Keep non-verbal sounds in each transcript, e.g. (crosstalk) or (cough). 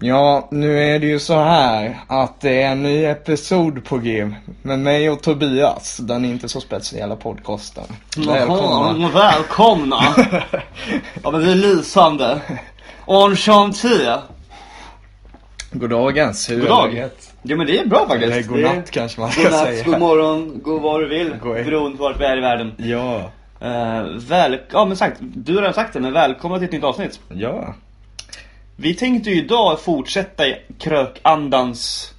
Ja, nu är det ju så här att det är en ny episod på G med mig och Tobias, den inte så speciella podcasten. Välkomna. Välkomna. (laughs) Mm, Välkomna. ja men det är lysande. Enchanté. Goddagens, hur Goddag. är läget? Ja men det är bra faktiskt. Eller godnatt kanske man Det ska är... Godnatt, säga. god morgon, god vad du vill. God- Beroende på vart vi är i världen. Ja, Eh, väl... Ja men sagt, du har redan sagt det men välkomna till ett nytt avsnitt. ja. Vi tänkte ju idag fortsätta i krökandans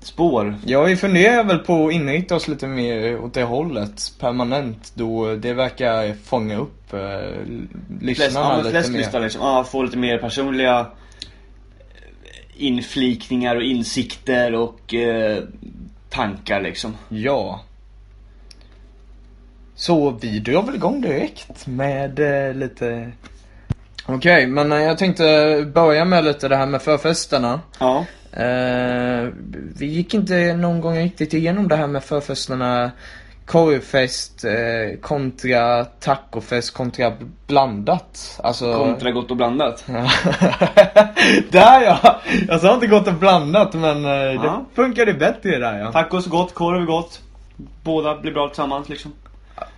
spår. Ja, vi funderar väl på att inrikta oss lite mer åt det hållet permanent då det verkar fånga upp eh, l- Flest, lyssnarna ja, men lite flest mer. lyssnare liksom. Ja, få lite mer personliga eh, inflikningar och insikter och eh, tankar liksom. Ja. Så vi drar väl igång direkt med eh, lite... Okej, men eh, jag tänkte börja med lite det här med förfesterna. Ja. Eh, vi gick inte någon gång riktigt igenom det här med förfesterna. Korvfest eh, kontra tacofest kontra blandat. Alltså... Kontra gott och blandat. Ja. (laughs) där ja! Jag sa inte gott och blandat men eh, det Ja. funkade bättre där ja. Tacos gott, korv gott. Båda blir bra tillsammans liksom.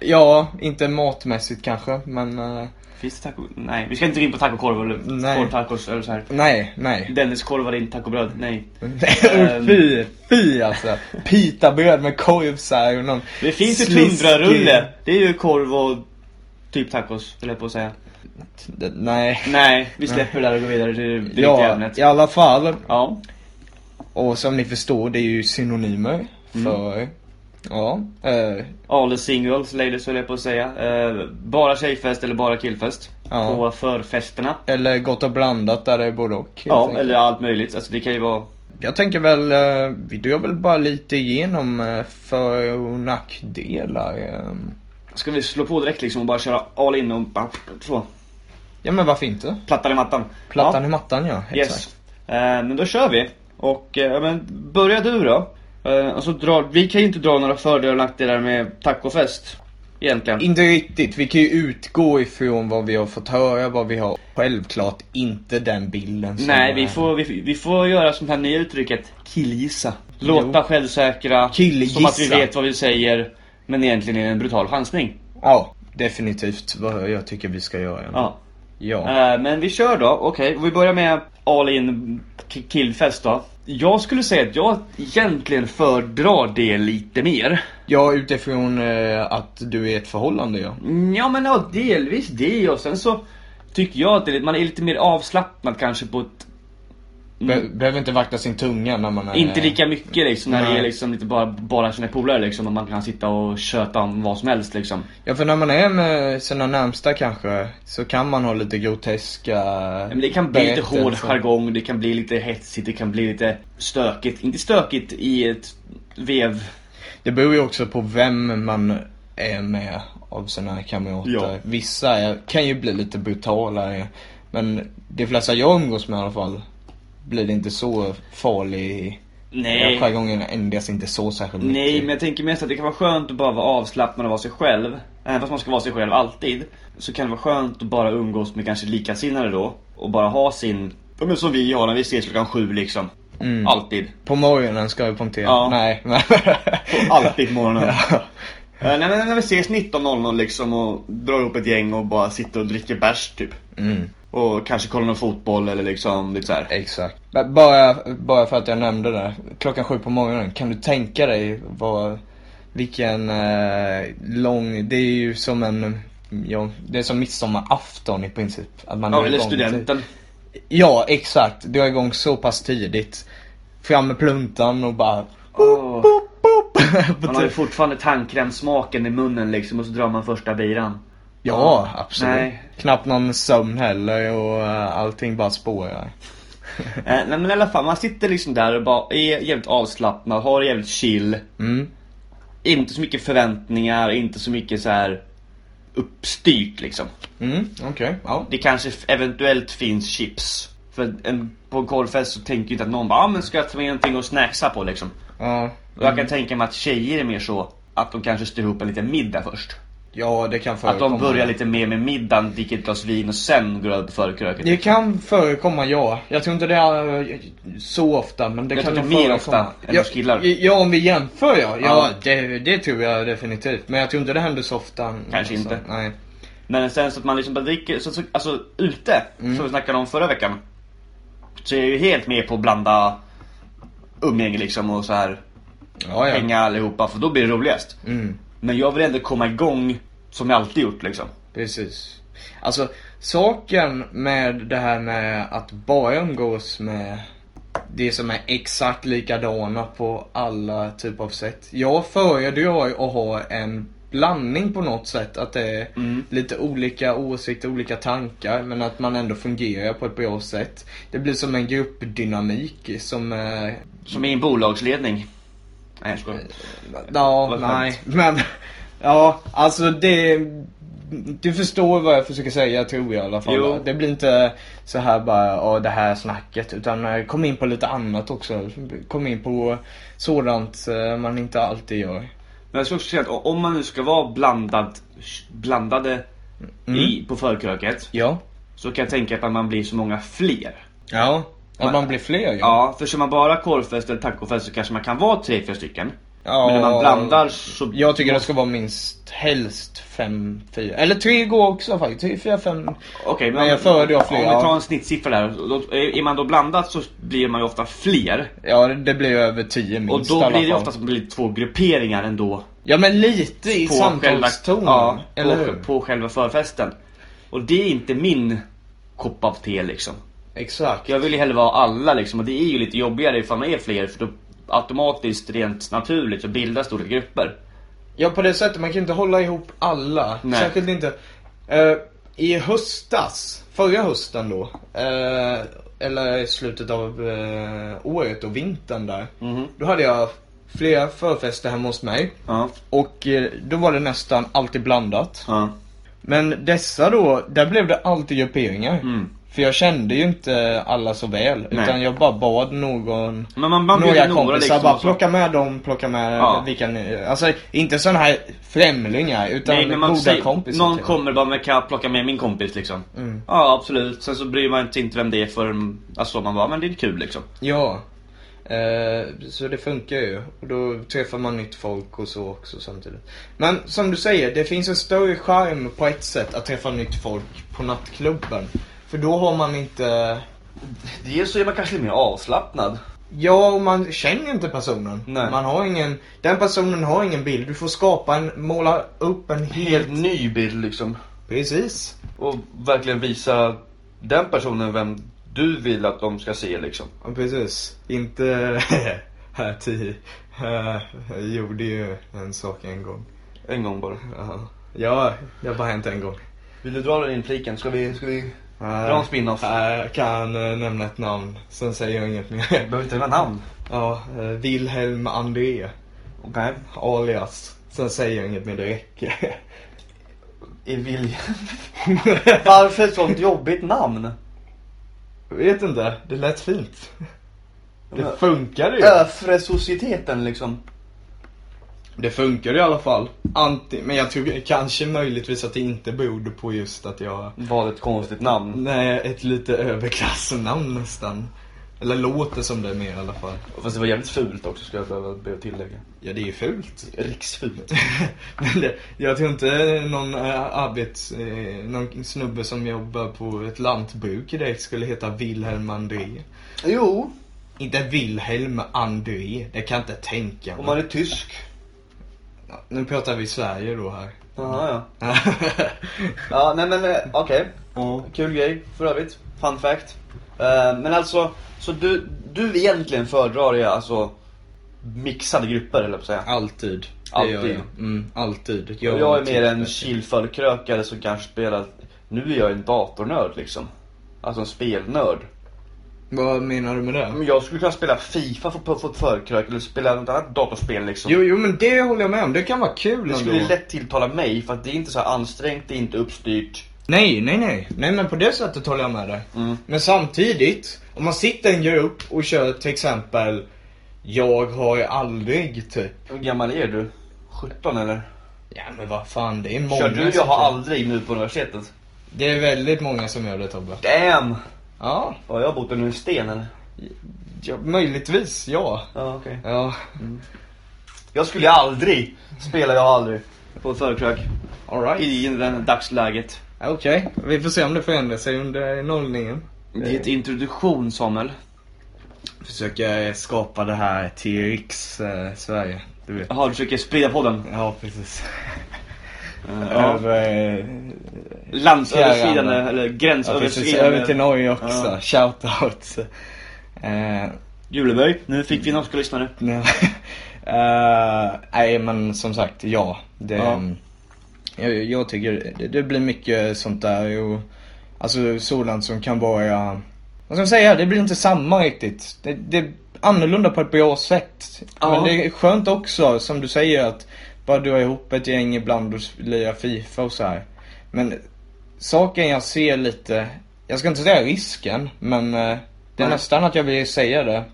Ja, inte matmässigt kanske, men eh, Finns det taco? Nej, vi ska inte gå in på tacokorv eller Nej. korvtacos eller så här. nej, nej. Dennis korvar in tacobröd, nej. Ehm. Usch, (laughs) fy, fy alltså. Pitabröd med korv så här och någon Det finns ju sliskig- tundrarulle. Det är ju korv och typ tacos, höll jag på att säga. D- Nej. Nej, vi släpper det där och går vidare till det riktiga Ja, ämnet. i alla fall. ja. Och som ni förstår, det är ju synonymer Mm. för, ja, eh, All the singles, ladies höll jag på att säga. Eh, bara tjejfest eller bara killfest. Ja. På förfesterna. eller gott och blandat där det är både och. helt Ja, enkelt. eller allt möjligt. Alltså det kan ju vara... Jag tänker väl, eh, vi drar väl bara lite igenom eh, för och nackdelar. eh. Ska vi slå på direkt liksom och bara köra all in och bara så. Ja men varför inte? Plattan i mattan. Plattan ja. i mattan ja, exakt. Yes. Eh, men då kör vi. Och eh, ja, men börja du då. Eh, och så drar, vi kan ju inte dra några fördelar och nackdelar med tacofest. Egentligen. Inte riktigt. Vi kan ju utgå ifrån vad vi har fått höra, vad vi har. Självklart inte den bilden som Nej, är- vi får, vi, vi får göra som det här nya uttrycket killgissa. Låta självsäkra, Killgissa. som att vi vet vad vi säger, men egentligen är det en brutal chansning. Ja, definitivt vad jag tycker vi ska göra. Ja. Ja. Eh, men vi kör då, okej. och Vi börjar med all in k- killfest då. Jag skulle säga att jag egentligen föredrar det lite mer. ja, utifrån eh, att du är i ett förhållande ja. Mm, Ja men ja, delvis det och sen så tycker jag att det, är lite- man är lite mer avslappnad kanske på ett Be- Behöver inte vakta sin tunga när man är... Mm. Inte lika mycket liksom när det Nej. är liksom lite bara, bara sina polare liksom och man kan sitta och köta om vad som helst liksom. Ja, för när man är med sina närmsta kanske, så kan man ha lite groteska... Men det kan bli lite berättelser. hård jargong, det kan bli lite hetsigt, det kan bli lite stökigt. Inte stökigt i ett vev. Det beror ju också på vem man är med av sina kamrater. Ja. Vissa är, kan ju bli lite brutalare. Men de flesta jag umgås med i alla fall blir det inte så farlig. Nej. Jargongen ändras inte så särskilt mycket. Nej, men jag tänker mest att det kan vara skönt att bara vara avslappnad och vara sig själv. Även fast man ska vara sig själv alltid. Så kan det vara skönt att bara umgås med kanske likasinnade då. Och bara ha sin, ja men som vi har när vi ses klockan sju liksom. Mm. Alltid. På morgonen ska jag punktera. Ja. Nej. men- (laughs) Alltid på morgonen. Eh, Nej, men när vi ses 19.00 liksom och drar ihop ett gäng och bara sitter och dricker bärs typ. Mm, Och kanske kollar någon fotboll eller liksom lite så här. exakt. B- Bara, bara för att jag nämnde det. Klockan sju på morgonen. Kan du tänka dig vad, vilken eh, lång, det är ju som en, ja, det är som midsommarafton i princip. Att man Ja, drar eller igång tid. studenten. Ja, exakt. Dra igång så pass tidigt. Fram med pluntan och bara (laughs) boop, Åh. typ. boop. På Man har ju tur- fortfarande tandkrämssmaken i munnen liksom och så drar man första biran. Ja, absolut. Nej. Knappt någon sömn heller och eh, allting bara spårar. Eh, nej men i alla fall, man sitter liksom där och bara är jävligt avslappnad, har det jävligt chill. Mm. Inte så mycket förväntningar, inte så mycket så här uppstyrt liksom. Mm, okej. Ja. Det kanske f- eventuellt finns chips. För en, på en korvfest så tänker ju inte att någon bara, ah, men ska jag ta med någonting och snacksa på liksom. Ja. Mm. Och jag kan tänka mig att tjejer är mer så att de kanske styr ihop en liten middag först. Ja, det kan Att förekomma. de börjar lite mer med middagen, dricker ett glas vin och sen går över på förkröket. Det kan förekomma, ja. Jag tror inte det är eh, så ofta, men det Jag kan tror nog det är mer förekomma. ofta än ja, hos killar. Ja, om vi jämför ja. Ja, Ja. Det, det tror jag definitivt. Men jag tror inte det händer så ofta. Alltså, Kanske inte. Nej. Men sen så att man liksom bara dricker, så, så, alltså ute, som vi snackade om förra veckan. Så är jag ju helt med på att blanda umgänge liksom och så här Ja, ja. hänga allihopa för då blir det roligast. Mm, Men jag vill ändå komma igång som jag alltid gjort liksom. precis. Alltså, saken med det här med att bara umgås med det som är exakt likadana på alla typer av sätt. Jag föredrar ju att ha en blandning på något sätt. Att det är Mm. lite olika åsikter, olika tankar men att man ändå fungerar på ett bra sätt. Det blir som en gruppdynamik som eh, är... Som i en bolagsledning. Nej jag skojar. Ja, Vad nej. (laughs) Men, ja, alltså det... Du förstår vad jag försöker säga tror jag i alla fall. Jo. Det blir inte så här bara, ja det här snacket. Utan eh, kom in på lite annat också. Kom in på sådant eh, man inte alltid gör. Men jag skulle också säga att om man nu ska vara blandad, blandade i, på förkröket. Ja. Så kan jag tänka på att man blir så många fler. Ja. Att man blir fler ju. Ja, för kör man bara korvfest eller tacofest så kanske man kan vara tre, fyra stycken. Ja. Men när man blandar så... Jag tycker det ska vara minst helst fem, fyra. Eller tre går också faktiskt. Tre, fyra, fem. Okej, Men jag föredrar fler, Om vi ja. tar en snittsiffra där. Då, är man då blandat så blir man ju ofta fler. Ja, det- det blir över tio minst Och i då alla blir det fall. ofta som blir två grupperingar ändå. Ja, men lite i På själva, samtalstonen. ja, eller på, hur? på själva förfesten. Och det är inte min kopp av te liksom. Exakt. Jag vill ju hellre vara alla liksom. Och det är ju lite jobbigare ifall man är fler. För då automatiskt, rent naturligt, så bildas stora grupper. Ja, på det sättet. Man kan inte hålla ihop alla. Nej. Särskilt inte. Eh, I höstas, förra hösten då. eh, eller i slutet av eh, året och vintern där. Mhm. Då hade jag flera förfester hemma hos mig. Ja. Och eh, då var det nästan alltid blandat. ja. Men dessa då, där blev det alltid grupperingar. Mm. För jag kände ju inte alla så väl. Nej. Utan jag bara bad någon, Men man- man några bjuder några kompisar liksom bara och så. plocka med dem, plocka med Ja. vilka ni, Alltså inte sådana här främlingar utan Nej men man goda säger, kompisar. någon typ. kommer bara med kan jag plocka med min kompis liksom. Mm. Ja absolut, sen så bryr man sig inte vem det är förrän, alltså man bara, men det är kul liksom. Ja. Eh, så det funkar ju. Och då träffar man nytt folk och så också samtidigt. Men som du säger, det finns en större charm på ett sätt att träffa nytt folk på nattklubben. För då har man inte Dels så är man kanske lite mer avslappnad. Ja, och man känner inte personen. Nej. Man har ingen, den personen har ingen bild. Du får skapa en, måla upp en hel... Helt ny bild liksom. Precis. Och verkligen visa den personen vem du vill att de ska se liksom. Ja, precis. Inte... (laughs) här tio. Här, jag gjorde ju en sak en gång. En gång bara. Ja, ja det har bara hänt en gång. Vill du dra den impliken? Ska vi, ska vi Äh, spin-off? jag kan eh, nämna ett namn, sen säger jag inget mer. (laughs) behöver inte nämna namn. Ja, eh, Wilhelm André, Okej. alias. Sen säger jag inget mer, det räcker. (laughs) I vilja. (laughs) Varför ett sånt jobbigt namn? Vet inte, det lät fint. Men- Det funkar ju. Öfre societeten liksom. Det funkar i alla fall. Anti, men jag tror kanske möjligtvis att det inte berodde på just att jag... Vad ett konstigt namn. Nej, ett lite överklassnamn nästan. Eller låter som det mer i alla fall. Fast det var jävligt fult också ska jag behöva behöva tillägga. Ja, det är ju fult. Riksfult. (laughs) men det, jag tror inte någon eh, arbets... eh, Någon snubbe som jobbar på ett lantbruk direkt skulle heta Wilhelm André. Jo, Inte Wilhelm André, det kan jag inte tänka mig. om man är tysk. Ja, Nu pratar vi Sverige då här. Jaha (laughs) ja. Ja nej men eh, okej. Ja. Kul grej för övrigt. Fun fact. Eh, men alltså, så du, du egentligen föredrar ju alltså mixade grupper eller på att säga. Alltid. Det Alltid. Gör jag. Mm, alltid. Och jag är mer tillspetsad. en chillförkrökare som kanske spelar, nu är jag en datornörd liksom. Alltså en spelnörd. Vad menar du med det? Men jag skulle kunna spela FIFA för, för, för förkrök eller spela något annat datorspel liksom. Jo, jo men det håller jag med om. Det kan vara kul Det ändå. skulle lätt tilltala mig för att det är inte så här ansträngt, det är inte uppstyrt. Nej, nej, nej. Nej men på det sättet håller jag med dig. Mm. Men samtidigt, om man sitter i en grupp och kör till exempel Jag har aldrig typ. Hur gammal är du? 17 eller? Ja men vad fan, det är många Kör du som jag har kör. aldrig nu på universitetet? Det är väldigt många som gör det Tobbe. Damn! Ja, Har jag bott under en sten eller? ja möjligtvis ja. Ja, okej. Ja, Jag skulle aldrig, spelar jag aldrig, på ett förkrök. alright. I den dagsläget. Okej, vi får se om det förändrar sig under nollningen. Det är ett introduktion Samuel. Försöka skapa det här till riks eh, Sverige, du vet. Jaha, du försöker sprida podden? Ja, precis. Eh, ja. Över, eh, Landsöverskridande, Fjärran. eller ja, precis. gränsöverskridande. Över till Norge också. Ja. Shoutout. Eh, Juleberg, nu fick vi norska lyssnare. Nej, (laughs) Eh, nej men som sagt, ja. Det, Ja. Jag, jag tycker det, det blir mycket sånt där. Och, alltså sådant som kan vara... Vad ska man säga? Det blir inte samma riktigt. Det, det är annorlunda på ett bra sätt. Ja. Men det är skönt också, som du säger, att bara dra ihop ett gäng ibland och lira FIFA och så här. Men saken jag ser lite, jag ska inte säga risken, men eh, det är Nej. nästan att jag vill säga det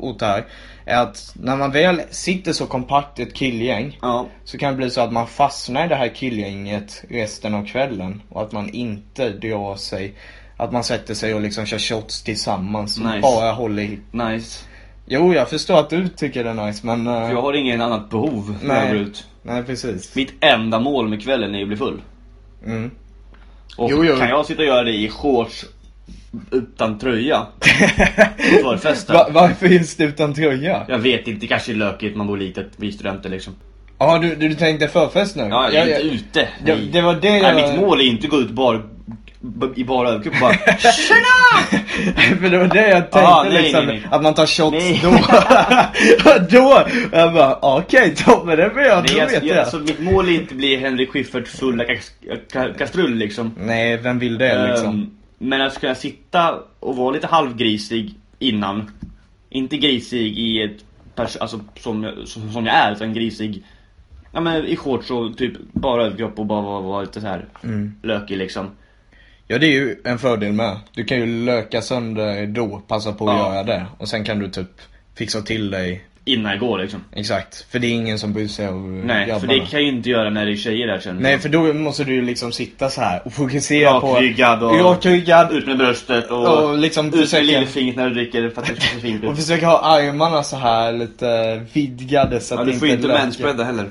åt det här. Är att när man väl sitter så kompakt i ett killgäng Ja. så kan det bli så att man fastnar i det här killgänget resten av kvällen. Och att man inte drar sig, att man sätter sig och liksom kör shots tillsammans och Nice. bara håller i. Nice. Jo, jag förstår att du tycker det är nice men... eh, För jag har ingen annat behov när Nej. jag går ut. Nej, precis. Mitt enda mål med kvällen är att bli full. Mm. Och Jo, jo. kan jag sitta och göra det i shorts (laughs) utan tröja på förfesten? Va- varför just utan tröja? Jag vet inte, det kanske är lökigt, man bor litet, vi är studenter liksom. Ja, du, du tänkte förfest nu? Ja, jag är inte ute. Ja, Nej. det var det jag... Nej, mitt mål är inte att gå ut bara, b- i bara (laughs) överkropp och bara Tjena! För det var det jag tänkte Ah, nej, liksom, nej, nej. att man tar shots Nej. då. (laughs) då! Jag bara, okej Tobbe, det blir jag, Nej, då jag, vet jag, jag. Alltså, mitt mål är inte att bli Henrik Schyffert fulla kas- ka- kastrull liksom. Nej, vem vill det liksom? Ehm, men att kunna sitta och vara lite halvgrisig innan. Inte grisig i ett pers- alltså som, jag- som, som jag är, utan grisig ja, men i shorts och typ bara överkropp och bara vara, vara lite så här Mm. lökig liksom. Ja, det är ju en fördel med. Du kan ju löka sönder då, passa på att Ja. göra det. Och sen kan du typ fixa till dig. Innan jag går liksom. Exakt, för det är ingen som bryr sig om Nej, för grabbarna. det kan jag ju inte göra när det är tjejer där känner Nej, för då måste du ju liksom sitta så här och fokusera jag. på... Rakryggad och Rakryggad. ut med bröstet och, Och liksom ut med försöka- lillfingret när du dricker för att det ska se (laughs) fint Och ut. försöka ha armarna så här lite vidgade så att Ja, det du får ju inte löker. manspreada heller.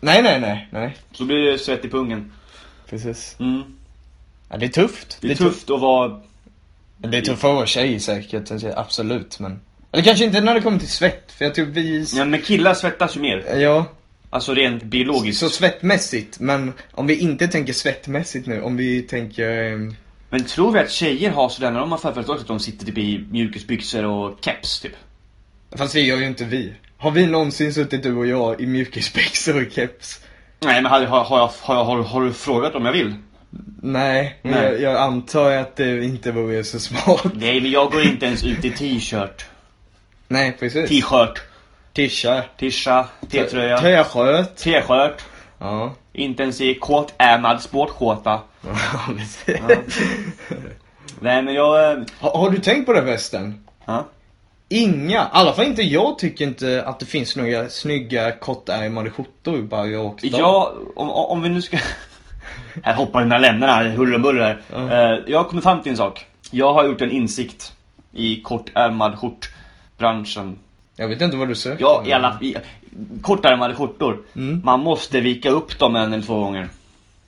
Nej, nej, nej, nej. Så blir det svett i pungen. Precis. Mm. Ja, det är tufft. Det är tufft att vara Men Det är tufft för tjejer säkert, alltså, absolut men... Eller kanske inte när det kommer till svett, för jag tror vi... Ja men killar svettas ju mer. Ja, Alltså rent biologiskt. så svettmässigt, men om vi inte tänker svettmässigt nu, om vi tänker... ehm, Men tror vi att tjejer har sådär när de har förfest också att de sitter typ i mjukisbyxor och keps typ? Fast det gör ju inte vi. Har vi någonsin suttit du och jag i mjukisbyxor och keps? Nej men har, har, har, jag, har, jag, har, har du frågat om jag vill? Nej, men Jag, Nej. jag antar att det inte vore så smart. (laughs) Nej men jag går inte ens ut i t-shirt. Nej, precis. T-shirt. Tisha. Tisha. T-tröja. T-shirt. T-shirt. Ja. (laughs) Inte ens i kåtärmad sportskjorta. Ja, precis. Nej men jag... eh, Har, har du tänkt på det förresten? Ja. Inga, i alla fall inte jag tycker inte att det finns några snygga kortärmade skjortor bara rakt av. Jag, om, om vi nu ska... (laughs) Här hoppar vi mellan lämnarna, här, huller och buller här. Ja. Eh, Jag har kommit fram till en sak. Jag har gjort en insikt i kortärmad skjortbranschen. Jag vet inte vad du söker. Ja, i alla i, Kortärmade skjortor. Mm. Man måste vika upp dem en eller två gånger.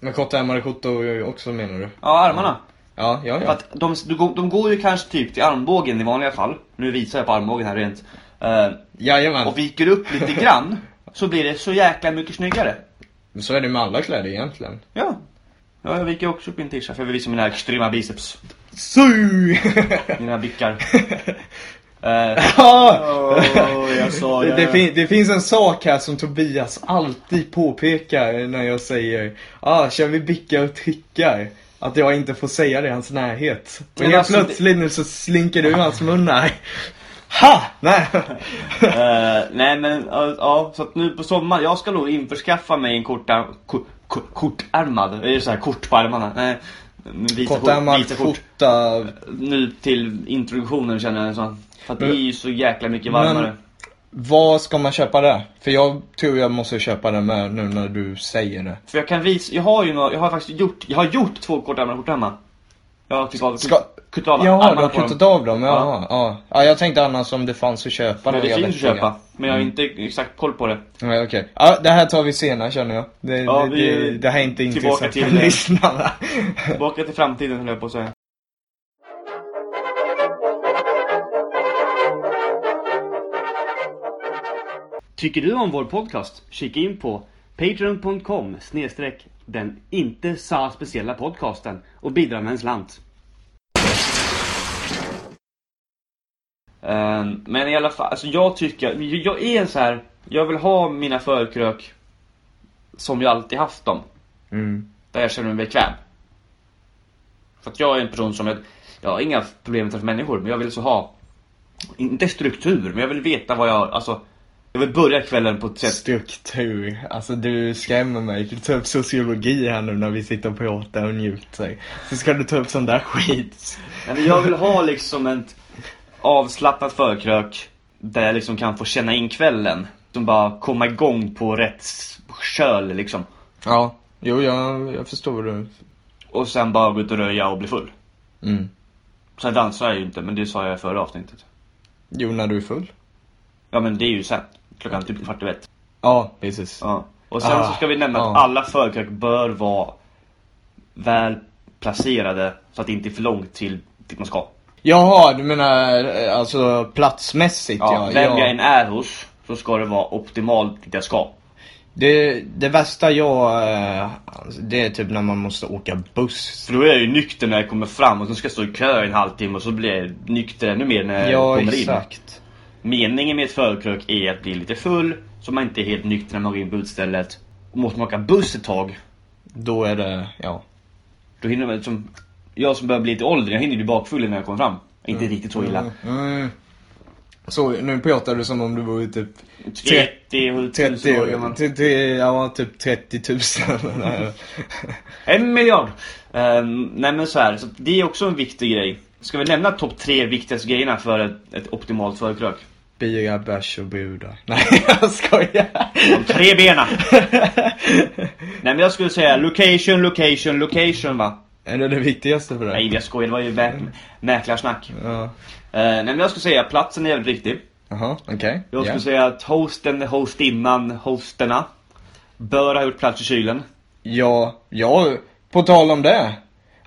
Men kortärmade skjortor gör ju också menar du? Ja, armarna. Ja, ja, För ja. att de, du går- de går ju kanske typ till armbågen i vanliga fall. Nu visar jag på armbågen här rent. Eh, Jajamän. Och viker upp (laughs) lite grann. Så blir det så jäkla mycket snyggare. Men Så är det med alla kläder egentligen. Ja. Ja, jag viker också upp min t-shirt för jag vill visa mina extrema biceps. Su! Mina (laughs) bickar. Eh, (laughs) Ja! Åh, jag (laughs) sa det, jag- det, fin- det finns en sak här som Tobias alltid påpekar när jag säger ah, kör vi bickar och trickar? Att jag inte får säga det i hans närhet. Och Men helt alltså, det- plötsligt nu så slinker du ur hans mun här. Ha! Nej. eh, nej men ja, ja, så att nu på sommaren, jag ska nog införskaffa mig en kortar, ko, ko, kortärmad, är det så här kort på armarna? Nej. Vita kort, Kortärmad vita kort. skjorta. Nu till introduktionen känner jag så. För att det Men- är ju så jäkla mycket varmare. Men Vad ska man köpa där? För jag tror jag måste köpa den med nu när du säger det. För jag kan visa, jag har ju några, jag har faktiskt gjort, jag har gjort två kortärmade skjortor hemma. Jag har klippt av, Ska- kuttat av Jaha, du armarna har på dem. kuttat av dem? Jaha, ja. ja. Jag tänkte annars om det fanns att köpa. Men några det finns att vettiga. köpa, men Mm. jag har inte exakt koll på det. Nej, okej. Ja, det här tar vi senare känner jag. Det, Ja, det, vi- det, det här är inte tillbaka intressant till för det. lyssnarna. Tillbaka till framtiden höll jag på att säga. Tycker du om vår podcast? Kika in på patreon.com snedstreck den inte sa speciella podcasten och bidra med en slant. Ehm, men i alla fall, alltså jag tycker, jag är en så här, jag vill ha mina förkrök som jag alltid haft dem (laughs) Mm. där jag känner mig bekväm. För att jag är en person som, jag, jag har inga problem med att träffa människor, men jag vill så ha, inte struktur, men jag vill veta vad jag, alltså, jag vill börja kvällen på ett sätt. Struktur. Alltså du skrämmer mig. Du tar upp sociologi här nu när vi sitter och pratar och njuter. Så ska du ta upp sån där skit. Nej, men jag vill ha liksom ett avslappnat förkrök, där jag liksom kan få känna in kvällen. Som bara komma igång på rätt s- köl liksom. Ja, jo jag, jag förstår vad du... Och sen bara gå ut och röja och bli full. Mm. Sen dansar jag ju inte, men det sa jag i förra avsnittet. Jo, när du är full. Ja men det är ju sen, klockan typ kvart över ett. Ja, precis. Ja. Och sen Ah, så ska vi nämna att ja. alla förkrök bör vara väl placerade så att det inte är för långt till dit man ska. Jaha, du menar eh, alltså platsmässigt Ja, ja. vem ja. jag än är hos så ska det vara optimalt dit jag ska. Det, det värsta jag... eh, alltså, Det är typ när man måste åka buss. För då är jag ju nykter när jag kommer fram och sen ska jag stå i kö i en halvtimme och så blir jag nykter ännu mer när jag Ja, kommer exakt. in. Meningen med ett förkrök är att bli lite full så man inte är helt nykter när man går in på utstället. Och måste man åka buss ett tag, Då är det, ja. då hinner man liksom... Jag som börjar bli lite åldrig, jag hinner bli bakfull när jag kommer fram. Inte riktigt så illa. Mm. Så nu pratar du som om du vore typ 30 000 30 år gammal. 30 ja typ 30 000. (laughs) Nej. En miljard! Um, nej men så här, så det är också en viktig grej. Ska vi nämna topp tre viktigaste grejerna för ett, ett optimalt förkrök? Bira, bärs och brudar. (laughs) Nej, jag skojar. De tre bena! nej men jag skulle säga location, location, location va? Är det det viktigaste för dig? Nej jag skojar, det var ju mä- mäklarsnack. Ja. Eh, nej men jag skulle säga platsen är jävligt viktig. Jaha, okej. Jag skulle Ja. säga att hosten, hostinnan, hosterna bör ha gjort plats i kylen. Ja, ja, på tal om det.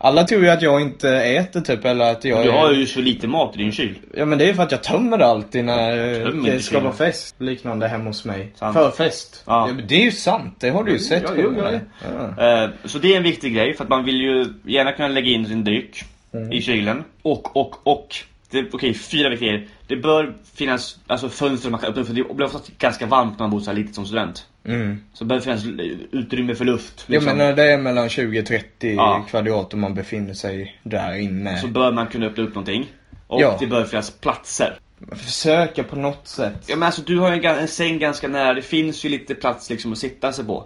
Alla tror ju att jag inte äter typ eller att jag Du är- har ju så lite mat i din kyl. Ja men det är ju för att jag tömmer det alltid när eh, tömmer det inte ska vara kylen. fest. Liknande hemma hos mig. Sant. Förfest. Ja. men det är ju sant, det har du ju Jo, sett. ja, på jo, mig. ja, Ja. Eh, Så det är en viktig grej för att man vill ju gärna kunna lägga in sin dryck Mm. i kylen. Och, och, och. Det- Okej, fyra viktiga grejer. Det bör finnas alltså, fönster man kan öppna upp, för det blir oftast ganska varmt när man bor så här litet som student. Mm. Så det bör finnas l- utrymme för luft. Ja Liksom. men eh, när det är mellan 20-30 Ja. kvadrat och man befinner sig där inne. Så bör man kunna öppna upp någonting. Och Ja. det bör finnas platser. Försöka på något sätt. Ja men alltså du har ju en, ga- en säng ganska nära, det finns ju lite plats liksom att sitta sig på.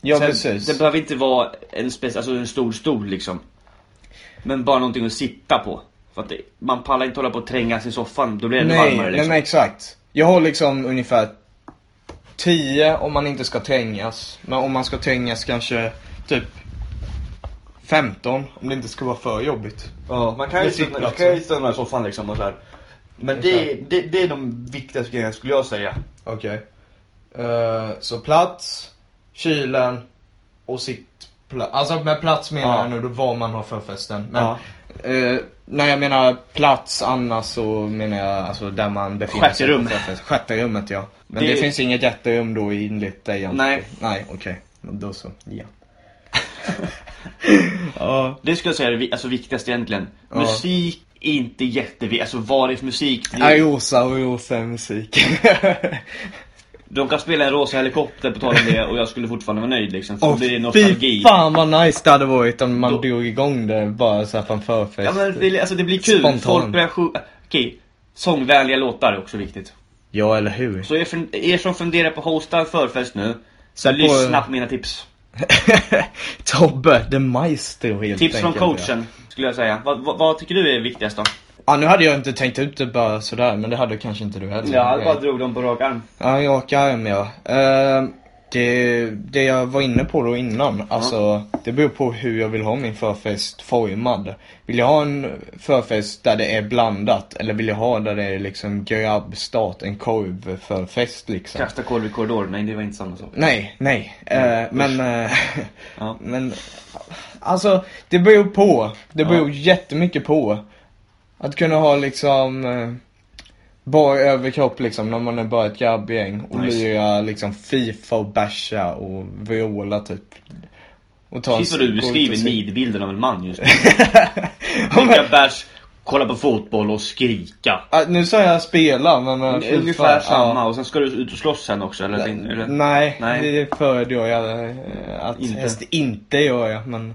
Ja Sen, precis. Det behöver inte vara en, spec- alltså en stor stol liksom. Men bara någonting att sitta på. För att det, man pallar inte hålla på och trängas i soffan, då blir det ännu nej, varmare nej liksom. men exakt. Jag har liksom ungefär 10 om man inte ska trängas. Men om man ska trängas kanske typ 15 om det inte ska vara för jobbigt. Ja, man kan ju sitta- man kan ju i soffan liksom och sådär. Men det- det, det är de viktigaste grejerna skulle jag säga. Okej. Eh, så plats, kylen och sittplats. Alltså med plats menar Ja. jag nu då var man har förfesten. Men, Ja. eh, när jag menar plats annars så menar jag alltså där man befinner sig. Sjätte rum. på förfest. Sjätte rummet ja. Men det, Det- finns inget jätterum då enligt dig Jan? Nej. Nej okej. Då så. (laughs) Ja. ja. Det skulle jag säga är det vi- alltså, viktigaste egentligen. Ja. Musik är inte jätteviktigt, alltså vad det är för musik. Det- Ariosa och rosa är musik. (laughs) De kan spela en rosa helikopter på tal om det och jag skulle fortfarande vara nöjd liksom. För då Åh blir det fy nostalgi. fan vad nice det hade varit om man Då- drog igång det bara så här på en förfest. Ja, men det, alltså, det blir kul, Spontan. folk börjar sjunga. Okej, sångvänliga låtar är också viktigt. Ja, eller hur? (laughs) Så er, fun- er som funderar på att hosta en förfest nu, så Sätt på- lyssna på mina tips. Tobbe, the maestro helt Tips från enkelt, ja. Mm. coachen, skulle jag säga. Vad, vad, vad tycker du är viktigast då? Ja, nu hade jag inte tänkt ut det bara sådär, men det hade kanske inte du heller. Jag bara drog dem på rak arm. Ja, jag åker hem ja. Eh, det, det jag var inne på då innan, alltså det beror på hur jag vill ha min förfest formad. Vill jag ha en förfest där det är blandat eller vill jag ha där det är liksom grabbstat, en korvförfest liksom? Kasta korv i korridoren, nej det var inte samma sak. Nej, nej. Eh, men, eh, (laughs) Ja. (laughs) men alltså det beror på. Det beror jättemycket på. Att kunna ha liksom eh, bara överkropp liksom när man är bara ett grabbgäng och Nice. lira liksom FIFA och basha och viola typ. Och ta en Precis cig- vad du gå ut och (laughs) beskriver cig- nidbilden av en (laughs) man just nu. Dricka bärs, kolla på fotboll och skrika. Ah, nu sa jag spela men... eh, FIFA, Ungefär ja. samma, och sen ska du ut och slåss sen också eller? eller? Nej, Nej. det föredrar jag eh, att Inte. helst inte gör jag. Men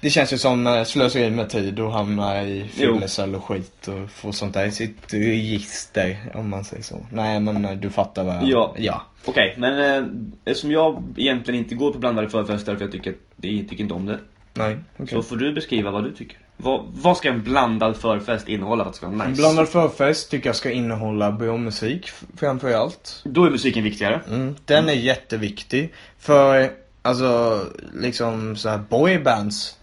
det känns ju som eh, slöseri med tid och hamna i Jo. fyllecell och skit och få sånt där i sitt register om man säger så. Nej men eh, du fattar vad jag... Ja. ja. Okej, men eh, som jag egentligen inte går på blandade förfester för jag tycker, att- jag tycker inte om det. Nej, okej. Så får du beskriva vad du tycker. Vad, vad ska en blandad förfest innehålla för att det ska vara nice? Blandad förfest tycker jag ska innehålla bra musik f- framför allt. Då är musiken viktigare. Mm, den är jätteviktig. För, alltså, liksom så här boybands.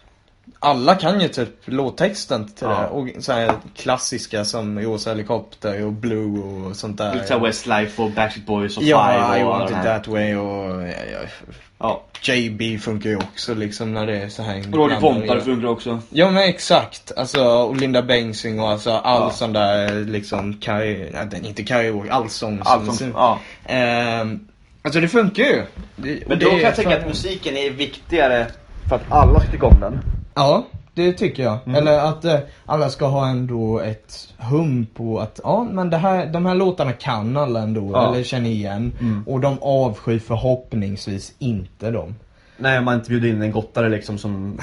Alla kan ju typ låttexten till Ja. det. Och så här klassiska som Rosa Helikopter och Blue och sånt där. Lite såhär Westlife och Backstreet Boys och Five Ja, och I alla want de it här. that way och ja, ja, Ja. JB funkar ju också liksom när det är så här. Roger Pontare funkar också. Ja men exakt. Alltså, och Linda Bengtzing och alltså all Ja. sån där liksom karaoke, nej, den- inte karaoke, allsång. Allt som, ja. Ehm, alltså det funkar ju. Det, Men det då kan är jag tänka fan- att musiken är viktigare för att alla ska tycka om den. Ja, det tycker jag. Mm. Eller att eh, alla ska ha ändå ett hum på att ja, men det här, de här låtarna kan alla ändå, Ja. Mm. eller känner igen. Och de avskyr förhoppningsvis inte dem. Nej, man inte bjuder in en gottare liksom (laughs) som...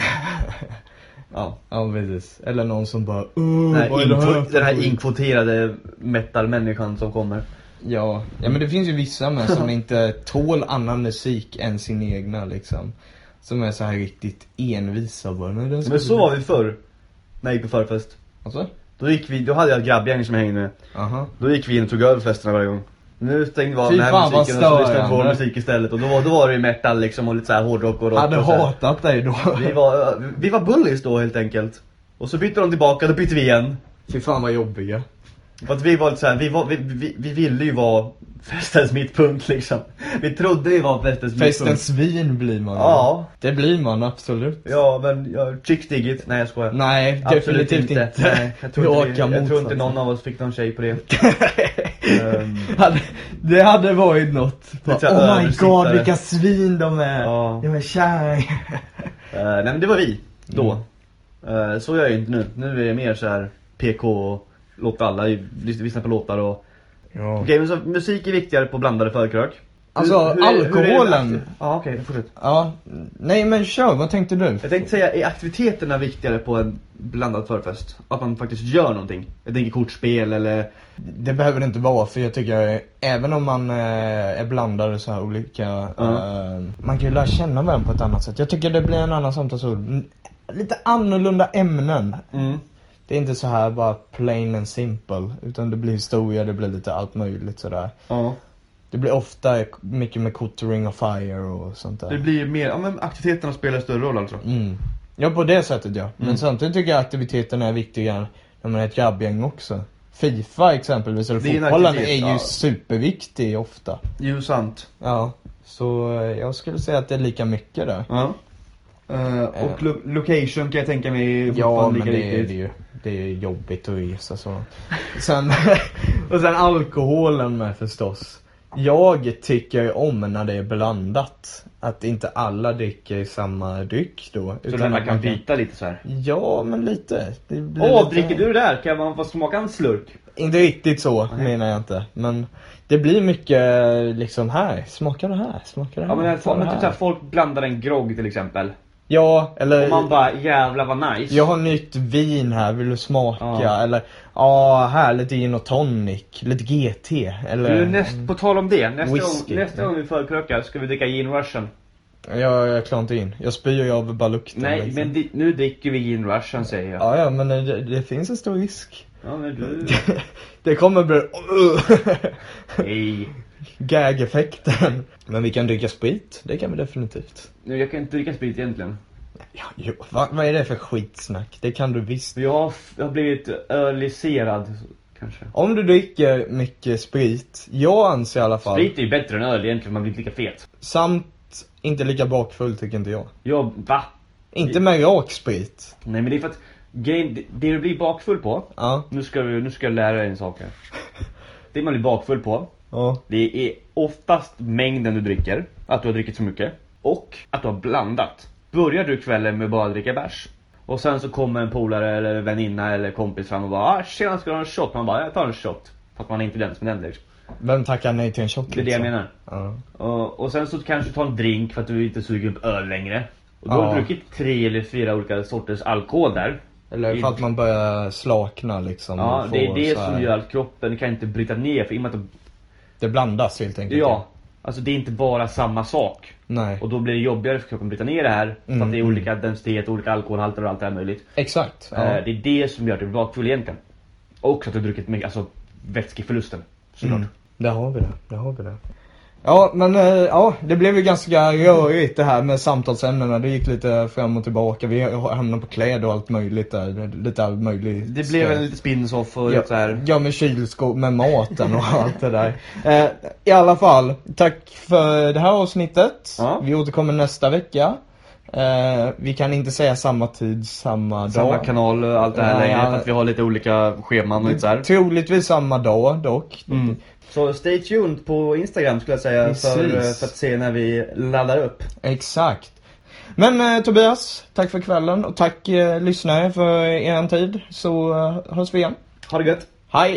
Ja. Ja precis. Eller någon som bara "Åh, Den här, vad är det här inkvo- för den här skit?" inkvoterade metal-människan som kommer. Ja. ja, men det finns ju vissa män (laughs) som inte tål annan musik än sin egna liksom. Som är så här riktigt envisa och bara, "Nej, den ska Men vi så bli." var vi förr. När jag gick på förfest. Alltså? Då gick vi, då hade jag ett grabbgäng som jag hängde med. Aha. Då gick vi in och tog över festerna varje gång. Nu stängde vi av Fy den här fan, vad musiken och så lyssnade vi på vår störande. musik istället. Och då, då var det ju metal liksom och lite såhär hårdrock och rock Hade och så här. hatat dig då. Vi var, vi var bullies då helt enkelt. Och så bytte de tillbaka, då bytte vi igen. Fy fan vad jobbiga. För att vi var lite såhär, vi, var- vi, vi, vi ville ju vara festens mittpunkt liksom. Vi trodde vi var festens mittpunkt. Festens svin blir man. Ja. Det blir man absolut. Ja men, ja, chick dig it. Nej jag skojar. Nej, Absolut definitivt inte. Nej, jag (laughs) tror Vi inte, vi, åker jag tror inte motsatsen. någon av oss fick någon tjej på det. (laughs) Ehm, Hade- det hade varit något. Bara, så här oh my översittare. god vilka svin de är. Ja. Jag är kär. Eh, nej men det var vi, då. Mm. Eh, så gör jag ju inte nu. Nu är jag mer så här PK och låter alla ju- lys- lyssna på låtar och... Ja. Okej men så musik är viktigare på blandade förkrök. Alltså, är- är det- alkoholen. Ja okej, fortsätt. ja. Nej men kör, vad tänkte du? Jag tänkte säga, är aktiviteterna viktigare på en blandad förfest? Att man faktiskt gör någonting? Jag tänker kortspel eller... Det behöver det inte vara för jag tycker eh, även om man eh, är blandade så här olika eh, Man kan ju lära känna varandra på ett annat sätt. Jag tycker det blir en annan samtalsord. Mm, Lite annorlunda ämnen. Det är inte så här bara plain and simple. Utan det blir historia, det blir lite allt möjligt sådär. Ja. Det blir ofta mycket med kort ring of fire och sånt Det där. blir ju mer, ja men aktiviteterna spelar större roll alltså. Mm. Ja på det sättet ja. Mm. Men samtidigt tycker jag aktiviteterna är viktiga när man är ett grabbgäng också. Fifa exempelvis, eller Det är en fotbollen är aktivitet, ju ja. superviktig ofta. Det är ju sant. Ja, så eh, jag skulle säga att det är lika mycket där. Ja. Eh, och lo- location kan jag tänka mig är Ja, fortfarande men lika det är viktigt. det ju. Det är jobbigt att resa så. Sen, (laughs) och sen alkoholen med förstås. Jag tycker ju om när det är blandat. Att inte alla dricker samma dryck då. Så den att här kan man byta lite så här. Ja, men lite. Det blir Åh, lite- dricker du det där? Kan man få smaka en slurk? Inte riktigt så menar jag inte. Men det blir mycket liksom här. Smakar det här? Smakar det här? Ja men, Tar jag, men det typ här? såhär, folk blandar en grogg till exempel. Ja, eller... Och man bara jävlar vad nice. Eh, Jag har nytt vin här, vill du smaka? Ja. Eller, ja här, lite gin och tonic, lite GT. Eller, Du, näst, på tal om det, nästa, Whisky. gång, nästa gång vi förkrökar ska vi dricka gin russian. jag, jag klarar inte in. Jag spyr ju av bara lukten. Nej liksom. men di, nu dricker vi gin russian säger jag. Ja, ja, men det, det eh, finns en stor risk. (laughs) Ja men (laughs) du... Det kommer bli... (laughs) Nej. Gag-effekten. Men vi kan dricka sprit, det kan vi definitivt. Nu, jag kan inte dricka sprit egentligen. Ja, jo, va, vad är det för skitsnack? Det kan du visst. Men jag har, jag har blivit öliserad, kanske. Om du dricker mycket sprit, jag anser i alla fall, Sprit är ju bättre än öl egentligen, man blir inte lika fet. samt inte lika bakfull tycker inte jag. Jag, va? Inte med rak sprit. Nej men det är för att, grejen, det- det du blir bakfull på, Ja. nu ska, vi, nu ska jag lära dig en sak här. Det man blir bakfull på, Ja. det är oftast mängden du dricker, att du har druckit för mycket, och att du har blandat. Börjar du kvällen med bara att dricka bärs, och sen så kommer en polare eller väninna eller kompis fram och bara ah, “tjena, ska du ha en shot?” Man bara “jag tar en shot”. För att man är inte den som är den liksom. Vem tackar nej till en shot Det är det jag menar. Ja. Och, och sen så kanske du tar en drink för att du inte suger upp öl längre. Och då har Ja. du druckit tre eller fyra olika sorters alkohol där. Eller för att man börjar slakna liksom. Ja, och det är få det så här- som gör att kroppen kan inte bryta ner för i och med att Det blandas helt enkelt. Ja, alltså det är inte bara samma sak. Nej. Och då blir det jobbigare för kroppen att bryta ner det här. För Mm, att det är olika densitet, olika alkoholhalter och allt det här möjligt. Exakt. Ja. Eh, Det är det som gör att du blir bakfull egentligen. Och att du har druckit mycket, alltså vätskeförlusten. Såklart. Mm. Där har vi det, där har vi det. Ja men eh, ja, det blev ju ganska rörigt det här med samtalsämnena. Det gick lite fram och tillbaka. Vi hamnade på kläder och allt möjligt där. Lite allt möjligt. Det blev väl lite spin-off och Ja, lite typ så här. ja med kylskåp, med maten och allt det där. Eh, I alla fall, tack för det här avsnittet. Ja. Vi återkommer nästa vecka. Eh, vi kan inte säga samma tid, samma, Samma dag. kanal och allt det här Ja, längre. ja. För att vi har lite olika scheman och lite så här. Troligtvis samma dag dock. Mm. Så stay tuned på Instagram skulle jag säga. eh, för- Precis. för att se när vi laddar upp. Exakt. Men eh, Tobias, tack för kvällen och tack eh, lyssnare för er tid. Så eh, hörs vi igen. Ha det gött! Hej!